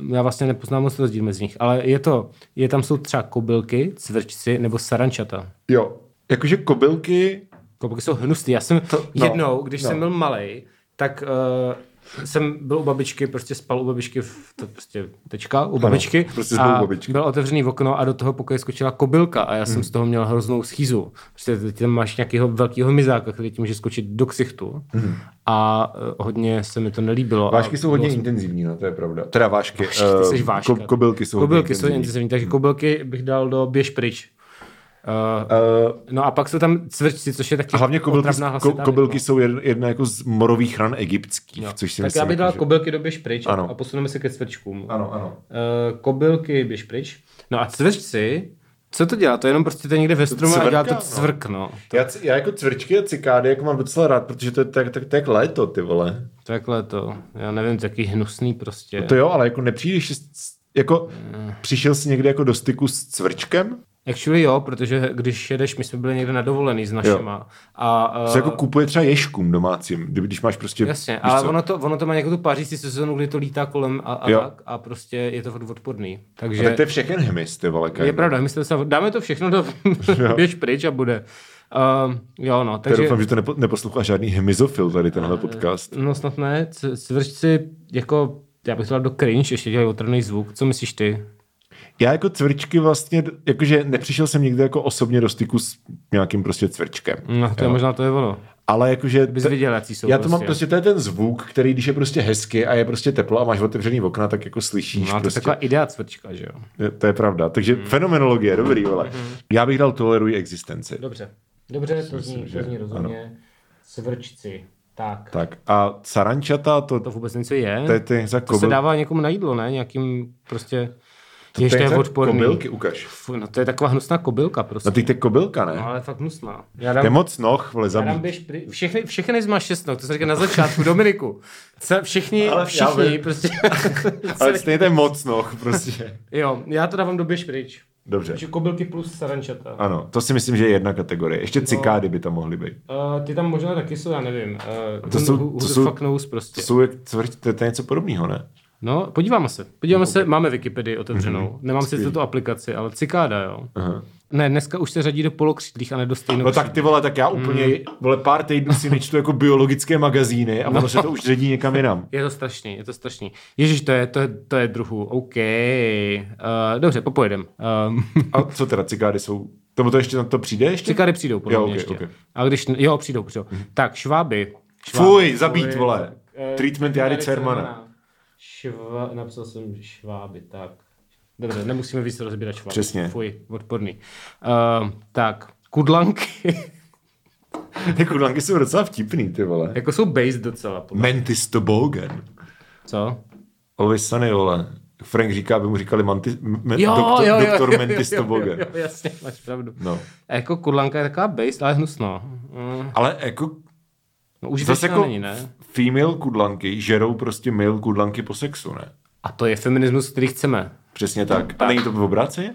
B: uh, já vlastně nepoznám moc rozdíl mezi nich, ale je to, je tam jsou třeba kobylky, cvrčci nebo sarančata.
A: Jo, jakože kobylky,
B: Kobylky jsou hnusné. Já jsem to,
A: no,
B: jednou, když
A: no.
B: jsem byl malý, tak uh, jsem byl u babičky, prostě spal u babičky, v, to prostě tečka, u babičky.
A: prostě spal u
B: a
A: babičky. Hmm.
B: bylo otevřený okno a do toho pokoje skočila kobylka a já jsem z toho měl hroznou schízu. Prostě teď tam máš nějakého velkého mizáka, který ti může skočit do ksichtu a eh, hodně se mi to nelíbilo.
A: Hmm. vášky
B: a
A: jsou hodně intenzivní, no to je pravda. Teda vášky.
B: Ty
A: eh,
B: jsi váška.
A: ko- kobylky jsou
B: kobylky jsou
A: hodně intenzivní.
B: intenzivní, takže kobylky bych dal do běž pryč. Uh,
A: Eh,
B: no a pak jsou tam cvrčci, což je taky
A: A hlavně kobylky,
B: otravná
A: ko,
B: hlasitá
A: kobylky
B: větva.
A: jsou jedna, jedna jako z morových ran egyptských,
B: Jo.
A: což si
B: tak
A: myslím, jako,
B: já bych dal
A: že-
B: kobylky do běž pryč a-
A: Ano.
B: a posuneme se ke cvrčkům.
A: Ano, ano.
B: Eh, kobylky běž pryč. No a cvrčci, co to dělá? To je jenom prostě to je někde ve stromu a
A: cvrká,
B: dělá to
A: no.
B: cvrk, no.
A: Já, c- já jako cvrčky a cikády jako mám docela rád, protože to je tak, tak, tak léto, ty vole.
B: Takhle to, já nevím, taky hnusný prostě.
A: To jo, ale jako nepřijdeš, s- s- jako přišel jsi někdy jako do styku s cvrčkem?
B: Actually jo, protože když jedeš, my jsme byli někde na dovolený s našima. Jo. A, eh,
A: Co jako kupuje třeba ješkům domácím, kdyby- když máš prostě...
B: Jasně,
A: víš
B: ale
A: co?
B: ono to, ono to má nějakou tu pařící sezonu, kdy to lítá kolem a, a
A: Jo.
B: tak a prostě je to furt odporný.
A: A
B: Takže
A: tak to je všechen hemis, ty vole,
B: je
A: kajno.
B: pravda, my jsme se, dáme to všechno do běž pryč a bude. Um, jo, no,
A: Takže...
B: takže...
A: Doufám, že to nepo, neposlouchá žádný hemizofil tady tenhle podcast.
B: No snad ne, C- cvrčci jako, já bych to dal do cringe, ještě dělají otrný zvuk. Co myslíš ty?
A: Já jako cvrčky vlastně, jakože nepřišel jsem nikdy jako osobně do styku s nějakým prostě cvrčkem.
B: No, to je
A: Jo.
B: možná to je ono.
A: Ale jakože...
B: Bys
A: te-
B: viděl, jaký jsou
A: Já to mám
B: prostě.
A: prostě, to je ten zvuk, který když je prostě hezky a je prostě teplo a máš otevřený okna, tak jako slyšíš
B: No, a to je Mm.
A: prostě.
B: taková idea cvrčka, že jo?
A: To je pravda. Takže hmm. fenomenologie, dobrý, vole.
B: Mm-hmm.
A: Já bych dal toleruji existenci.
B: Dobře. Dobře, to zní,
A: že
B: to zní
A: ano.
B: rozumně. Cvrčci. Tak.
A: Tak a sarančata, to,
B: To
A: to,
B: vůbec něco je.
A: je ty za
B: To se
A: kobylky.
B: dává někomu na jídlo, ne? Nějakým prostě... Jež to je
A: za
B: odporný.
A: kobylky, ukaž.
B: Fuj, no to je taková hnusná kobylka prostě.
A: No ty to je kobylka,
B: No,
A: ne?
B: ale fakt hnusná. Já
A: To je
B: dám,
A: moc noh, vole,
B: já dám
A: zabít.
B: běž pry... všechny, všechny zmáš šestnou, to se říká na začátku, Dominiku. Co, všichni,
A: Ale já
B: všichni,
A: vím.
B: prostě.
A: Ale stejně to je moc noh, prostě.
B: jo, já to dávám do běž pryč.
A: Dobře.
B: Takže kobylky plus sarančata.
A: Ano, to si myslím, že je jedna kategorie.
B: No.
A: Ještě cikády by tam mohly být.
B: Uh, ty tam možná taky jsou, já nevím. Uh,
A: To jsou-
B: who, who
A: to
B: the
A: jsou-
B: fuck knows prostě.
A: To jsou jak cvrč, to, je- to je něco podobného, ne?
B: No, podíváme se. Podíváme se, máme Wikipedii otevřenou. Nemám si tuto aplikaci, ale cikáda, jo.
A: Mhm. Aha.
B: Ne, dneska už se řadí do polokřídlých a ne do
A: No
B: stejnokřídlých.
A: tak ty vole, tak já úplně,
B: Hmm.
A: vole, pár týdnů si nečtu jako biologické magazíny a ono se to už ředí někam jinam.
B: Je to strašný, je to strašný. Ježíš, to je, to je, to je druhů. OK. Uh, dobře, popojedem. Um,
A: A co teda, cikády jsou? Tomu to ještě na to přijde ještě?
B: cikády přijdou, podle
A: Jo,
B: jo,
A: ok,
B: mě ještě.
A: ok. Mhm.
B: A když, jo, přijdou, přijdou. Tak, šváby.
A: Fuj, zabít, vole. Treatment Jary Cermana.
B: eh, Šva, napsal jsem šváby, tak. Dobře, nemusíme víc rozbírat šváby.
A: Přesně.
B: Fuj, odporný. Uh, tak, kudlanky.
A: Ty kudlanky jsou docela vtipný, ty vole.
B: jako jsou base docela. Podle.
A: Mantis Tobogan.
B: Co?
A: Ovi Sunny, vole. Frank říká, aby mu říkali mantis, m- m-
B: Jo,
A: doktor,
B: jo, jo,
A: doktor
B: jo, jo,
A: Mantis
B: jo, jo,
A: Tobogan.
B: jo, jasně, máš pravdu.
A: No.
B: A jako kudlanka je taková base, ale hnusná. Mm.
A: Ale jako
B: No, už
A: Zase jako
B: není, ne?
A: female kudlanky žerou prostě male kudlanky po sexu, ne?
B: A to je feminismus, který chceme.
A: Přesně tak. A není to v obráceně?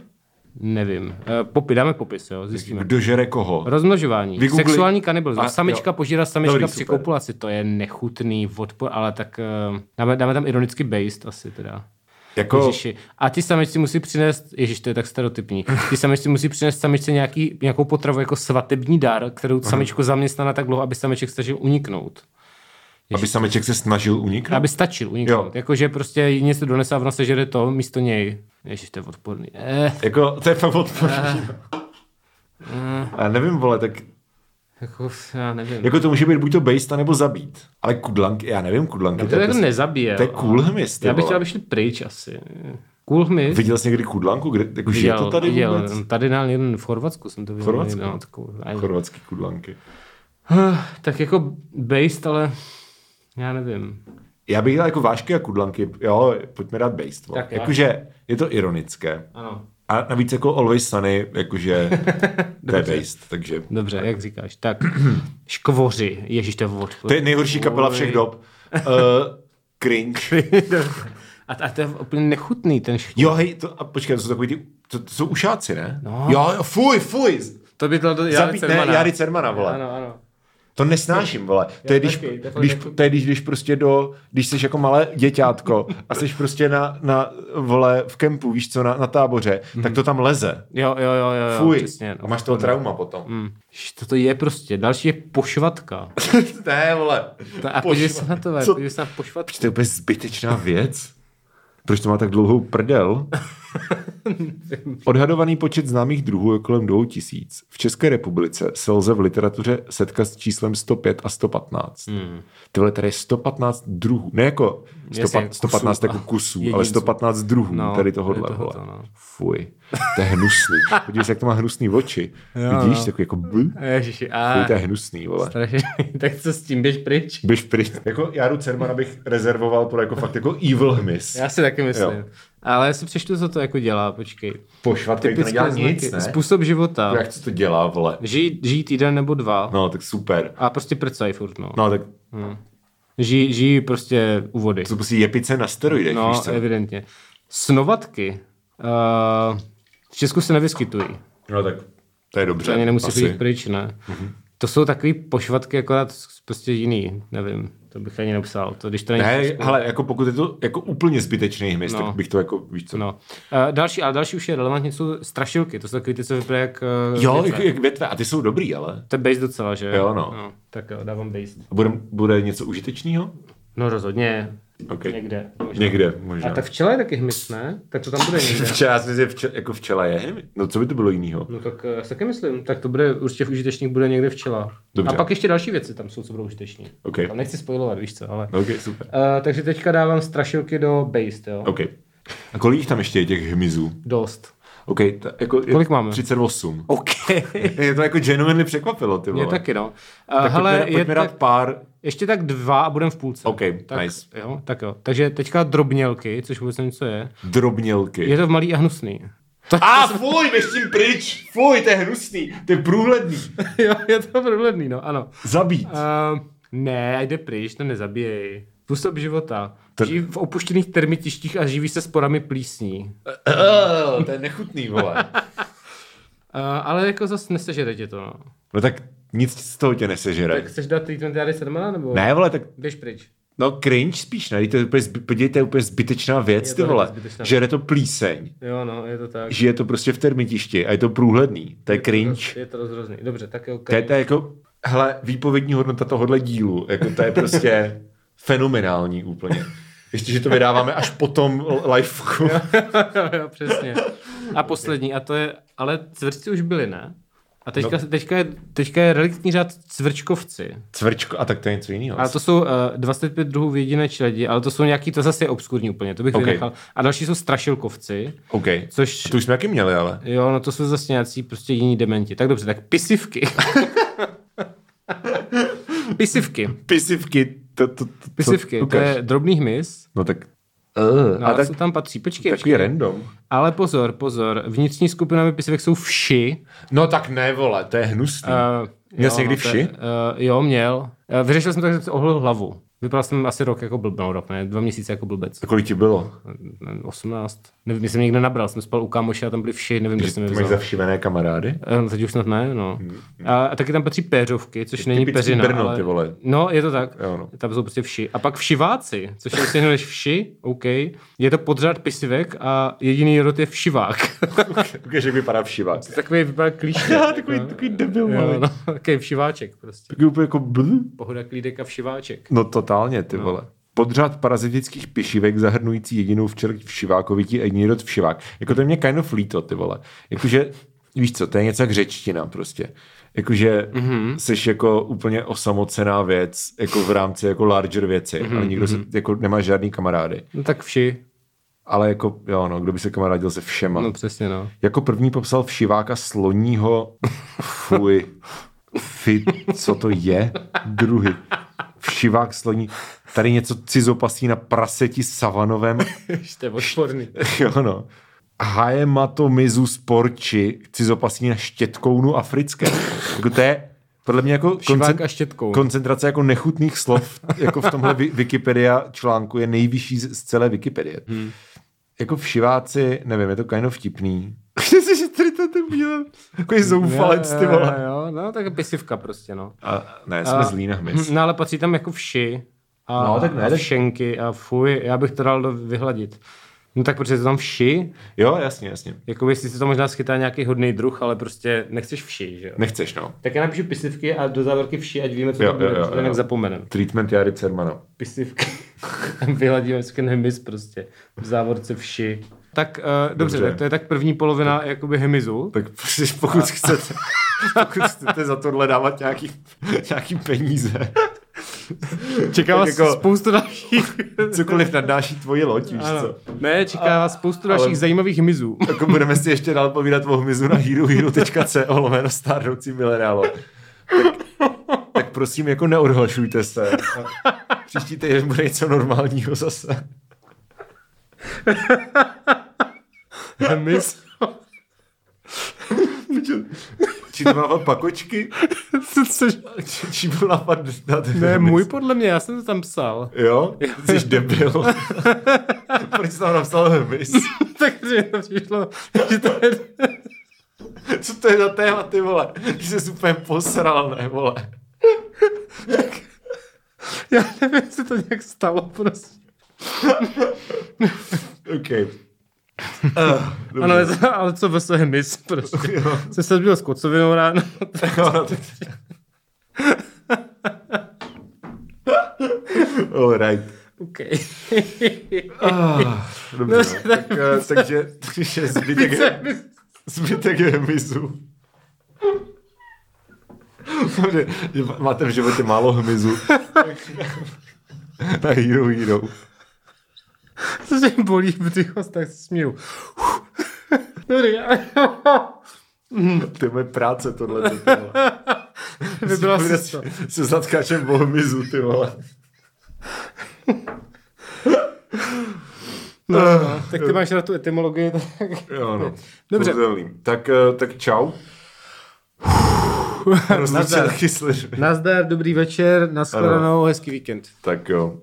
B: Nevím. E, popi, dáme popis, jo, zjistíme.
A: Kdo žere koho?
B: Rozmnožování.
A: Vygoogli-
B: Sexuální kanibalismus.
A: A,
B: Samička
A: jo.
B: požírá samička
A: Dobrý,
B: při
A: super.
B: kopulaci. To je nechutný odpor, ale tak e, dáme, dáme tam ironicky based asi teda.
A: Jako,
B: Ježiši. A ti samičci musí přinést, ježiš, to je tak stereotypní, ti samičci musí přinést samičce nějaký, nějakou potravu jako svatební dar, kterou samičku zaměstná tak dlouho, aby samiček stačil uniknout.
A: aby sameček se snažil uniknout?
B: Aby stačil uniknout.
A: Jo.
B: Jakože prostě jí něco donese a ona sežere to místo něj. Ježiš, to je odporný. Eh.
A: Jako, to je fakt odporný.
B: Eh.
A: A nevím, vole, tak
B: Jako, já nevím.
A: jako to může být buď to based, nebo zabít. Ale kudlanky, já nevím, kudlanky.
B: to jako
A: prostě-
B: nezabije.
A: to je
B: ale-
A: cool hmyz, ty
B: Já bych
A: vole.
B: chtěl, aby šli pryč asi. Cool hmyz.
A: Viděl jsi někdy kudlanku? Kde, jako, že je to tady
B: viděl.
A: vůbec?
B: Tady na jeden v Chorvatsku jsem to viděl.
A: Chorvatsku?
B: No, takovou, aj-
A: Chorvatský kudlanky.
B: tak jako based, ale já nevím.
A: Já bych dal jako vášky a kudlanky, jo, pojďme dát based. vole.
B: Tak já.
A: Jakože je to ironické.
B: Ano.
A: A navíc jako Always Sunny, jakože to je based, takže...
B: Dobře, jak říkáš. Tak, škvoři. Ježíš, to je odpor.
A: To je nejhorší kapela všech dob. Uh, cringe.
B: A, a to je úplně nechutný ten škvoř.
A: Jo, hej, to, a počkej, to jsou takový ty, to, to jsou ušáci, ne?
B: No.
A: Jo, jo, fuj, fuj.
B: To by to
A: Zabít, ne, Jary Cermana, vole.
B: Ano, ano.
A: To nesnáším, vole. To je, když,
B: taky, to je fakt
A: když,
B: jako-
A: to je když, když prostě do, když jsi jako malé děťátko a jsi prostě na, na, vole, v kempu, víš co, na, na táboře, tak to tam leze.
B: Jo, jo, jo, jo, jo
A: Fuj.
B: přesně.
A: a
B: Mhm. No.
A: máš toho trauma potom.
B: Hm. Co to je prostě? Další je pošvatka.
A: ne, vole.
B: Ta, a podívej se na to, vole,
A: Co-
B: podívej se na pošvatku.
A: To je úplně zbytečná věc. Proč to má tak dlouhou prdel? Odhadovaný počet známých druhů je kolem 2000. V České republice se lze v literatuře setkat s číslem 105 a 115. Hmm. Ty vole, tady je 115 druhů. Ne jako 100,
B: Jasně,
A: Jasně,
B: jako
A: 115
B: kusů
A: kusů, jako
B: a
A: kusů, ale
B: jedinců.
A: 115 druhů
B: No,
A: no, tady tohohle.
B: tady tohoto,
A: vole.
B: no.
A: Fuj, to je hnusný. Podívej se, jak to má hnusný oči. Vidíš, takový jako bl.
B: Ježiši,
A: Fuj,
B: a...
A: to je hnusný, vole.
B: Strašně. tak co s tím, běž pryč?
A: Běž pryč. Jako Jaru Cermana bych rezervoval pro jako fakt jako evil hmyz.
B: Já si taky myslím.
A: Jo.
B: Jo. Ale já si přečtu, co to jako dělá, počkej.
A: Pošvatky, to nedělá nic, ne?
B: Způsob života.
A: Jak to dělá, vole?
B: Žijí, žijí týden nebo dva. No.
A: No, tak super.
B: A prostě prcají furt, no. no.
A: No, tak
B: Žijí, žijí prostě u vody.
A: to musí jepice na steroidech,
B: No,
A: víš co?
B: evidentně. Snovatky. Uh, v Česku eh, se nevyskytují.
A: No tak
D: To je
B: To
D: dobře.
B: ani nemusí
D: asi.
B: být pryč, ne.
A: Mhm.
B: To jsou takový pošvatky, akorát prostě jiný, nevím, to bych ani nepsal. To, když to není
A: Ne, ale jako pokud je to jako úplně zbytečný hmyz,
B: No.
A: tak bych to jako, víš co.
B: No. Uh, další, ale další už je relevantní, jsou strašilky, to jsou takový ty, co vypadají jak... Uh,
A: Jo, jak, jak větve, a ty jsou dobrý, ale.
B: To je base docela, že
A: Jo, no.
B: no. Tak jo, dávám base.
A: A bude, bude něco užitečného?
B: No rozhodně,
A: Ok.
B: někde. Možná.
A: Někde,
B: A
A: možná.
B: ta včela je taky hmyz, ne? Tak to tam bude někde.
A: Včera jsem si včel, jako včela je hmyz. No co by to bylo jiného?
B: No tak eh, si taky myslím, tak to bude určitě v užitečných bude někde včela.
A: Dobře.
B: A pak ještě další věci tam jsou, co budou užiteční.
A: OK.
B: Tam nechci spojovat, víš co, ale...
A: No, ok, super.
B: Uh, takže teďka dávám strašilky do base, jo.
A: OK. A kolik jich tam ještě je těch hmyzů?
B: Dost.
A: OK, ta, jako je
B: Kolik máme?
A: 38.
B: OK.
A: Je to jako genuinely překvapilo, ty vole.
B: Mě taky, no. Uh,
A: Tak
B: hele,
A: pojďme, pojďme
B: je
A: dát
B: tak,
A: pár.
B: ještě tak dva a budem v půlce.
A: OK,
B: tak,
A: nice.
B: Jo, tak jo. Takže teďka drobnělky, což vůbec nevím, co je.
A: Drobnělky.
B: Je to v malý a hnusný. To,
A: A fuj, běž tím pryč. Fuj, to je hnusný. To je průhledný.
B: jo, je to problémný, no, ano.
A: Zabít.
B: Uh, ne, jde pryč, to nezabíjej. Působ života.
A: To-
B: Žijí v opuštěných termitištích a živí se sporami plísní.
A: to je nechutný, vole.
B: Uh, ale jako zase nesežere tě to, no.
A: No tak nic z toho tě nesežere.
B: Tak chceš dát treatment Jary Sermana, nebo?
A: Ne, vole, tak
B: Běž pryč.
A: no cringe spíš, ne? To je úplně, zby- podívej, to je úplně zbytečná věc,
B: Je
A: ty
B: to
A: vole.
B: hrozně zbytečná
A: Žere to plíseň,
B: Jo, no, je to tak.
A: žije to prostě v termitišti a je to průhledný. To prostě- je cringe.
B: Je to rozhrozný. Dobře, tak jo.
A: To je, to je jako, hele, výpovědní hodnota tohohle dílu, jako to je prostě fenomenální úplně. Ještě, že to vydáváme až po tom lifeku.
B: jo, jo, přesně. A poslední, a to je, ale cvrčci už byli, ne? A teďka, no. teďka, je, teďka je reliktní řád cvrčkovci.
A: Cvrčko, a tak to je něco jiného.
B: A to jsou uh, 25 druhů v jediné čeledi, ale to jsou nějaký, to zase je obskurní úplně, to bych
A: Ok.
B: okay. vynechal. A další jsou strašilkovci,
A: OK.
B: což...
A: To už jsme taky měli, ale.
B: Jo, no to jsou zase nějací prostě jiní dementi. Tak dobře, tak pisivky. pisivky.
A: Pisivky. To, to, to, to,
B: Pisivky, to,
A: ukaž.
B: je drobný hmyz.
A: No tak... Uh,
B: No,
A: a
B: a
A: tak,
B: co tam patří? Počkej,
A: takový
B: počkej.
A: random.
B: Ale pozor, pozor. Vnitřní skupinami pisivek jsou vši.
A: No tak ne, vole, to je hnusný.
B: Uh,
A: Měl jsi někdy vši?
B: Uh, jo, měl. Uh, vyřešil jsem to, že jsem si ohlil hlavu. Vypadal jsem asi rok jako blbec, no rok ne, dva měsíce jako blbec.
A: A kolik ti bylo?
B: Nevím, 18. Nevím, jsem někde nabral, jsem spal u kámoše a tam byli vši, nevím, kde
A: Že
B: jsem je
A: to máš
B: vzal.
A: zavšivené kamarády?
B: Eh, No, teď už snad ne, no. A, a taky tam patří péřovky, což není
A: Hmm, typický
B: peřina.
A: Brno,
B: ale...
A: ty vole.
B: No, je to tak.
A: Jo, no.
B: Tam jsou prostě vši. A pak všiváci, což je prostě jenom než vši, OK. Je to podřád pisivek a jediný rod je všivák.
A: Ukaž, jak vypadá všivák.
B: takový vypadá klíště.
A: takový, takový debil,
B: Jo, no, takový všiváček prostě.
A: Takový úplně jako bl.
B: Pohoda klídek a všiváček.
A: No totálně, ty no. vole. Podřad parazitických pišivek zahrnující jedinou včel všivákovití a jediný rod všivák. Jako to je mě kind of líto, ty vole. Jakože, víš co, to je něco jak řečtina prostě. Jakože mm-hmm. jsi jako úplně osamocená věc, jako v rámci jako larger věci, mm-hmm. ale nikdo se, jako nemá žádný kamarády.
B: No tak vši.
A: Ale jako, jo no, kdo by se kamarádil se všema.
B: No přesně, no.
A: Jako první popsal všiváka sloního fuj. Fi, co to je? Druhy. Všivák sloní. Tady něco cizopasí na praseti savanovém.
B: Jste odporný.
A: jo no. Haematomizu sporči cizopasí na štětkounu africké. Jako to je podle mě jako
B: Šivák a štětkoun.
A: koncentrace jako nechutných slov jako v tomhle Wi- Wikipedia článku je nejvyšší z z celé Wikipedie. Hmm. Jako všiváci, nevím, je to kind of vtipný. Jsi si tady to ten udělal? Takový zoufalec, ty
B: Jo,
A: vole.
B: Jo, no tak pisivka prostě, no.
A: A, ne, jsme
B: A-
A: zlí na hmyz.
B: No ale patří tam jako vši. A,
A: No, tak ne,
B: a
A: tak-
B: všenky a fuj, já bych to dal do vyhladit. No tak protože je to tam vši,
A: Jo, jasně, jasně.
B: jako jestli se to možná schytá nějaký hodný druh, ale prostě nechceš vši, že jo.
A: Nechceš, no.
B: Tak já napíšu pisivky a do závěrky vši, ať víme, co
A: Jo,
B: to bude,
A: jo, jo,
B: protože
A: jo.
B: jinak zapomeneme.
A: Treatment Jary Cermana.
B: Pisivky. Vyhladíme všechny hemis prostě. V závorce vši. Tak uh, dobře,
A: Dobře.
B: dobře, tak to je tak první polovina jakoby hemizu.
A: Tak prostě, pokud chcete, pokud chcete za tohle dávat nějaký, nějaký peníze,
B: Čeká
A: tak
B: vás
A: jako-
B: jako... spoustu dalších...
A: cokoliv nadnáší tvoji loď, víš
B: Ano.
A: co.
B: Ne, čeká vás spoustu dalších
A: ale-
B: zajímavých hmyzů.
A: Jako budeme si ještě dál povídat o hmyzu na herohero.co lomeno stárnoucí milenálo. Tak, tak prosím, jako neodhlašujte se. A Příští týden bude něco normálního zase.
B: Hmyz.
A: Či to mávat pakočky?
B: Což...
A: Či, či byl nápad dát
B: Ne,
A: hmyz?
B: můj podle mě, já jsem to tam psal.
A: Jo? Jsi debil. Proč jsi tam napsal hmyz?
B: Takže to přišlo, že to je...
A: Co to je za téma, ty vole? Ty jsi úplně posral, ne, vole?
B: Já nevím, jestli to nějak stalo prostě.
A: OK.
B: Ano, ale, ale co ve se hmyz prostě. Jsem se zbyl s kocovinou ráno.
A: All right.
B: OK.
A: Ah, dobře,
B: No,
A: no, tak, eh, takže takže zbytek, je, zbytek je hmyzu. Dobře, že má- máte v životě málo hmyzu. Na Hero Hero.
B: Co se mi bolí v těch hostách, se směju. Dobrý,
A: To je moje práce tohle. ty vole.
B: vybral
A: Bude
B: jsi to.
A: Se zatkáčem o hmyzu, ty vole.
B: No, no, tak ty máš na tu etymologii. tak-
A: Jo, no.
B: Dobře.
A: Kouzelný. Tak, eh, tak čau. Rozdíl
B: Nazdar.
A: kyslíř.
B: Nazdar, dobrý večer, nashledanou, hezký víkend.
A: Tak jo.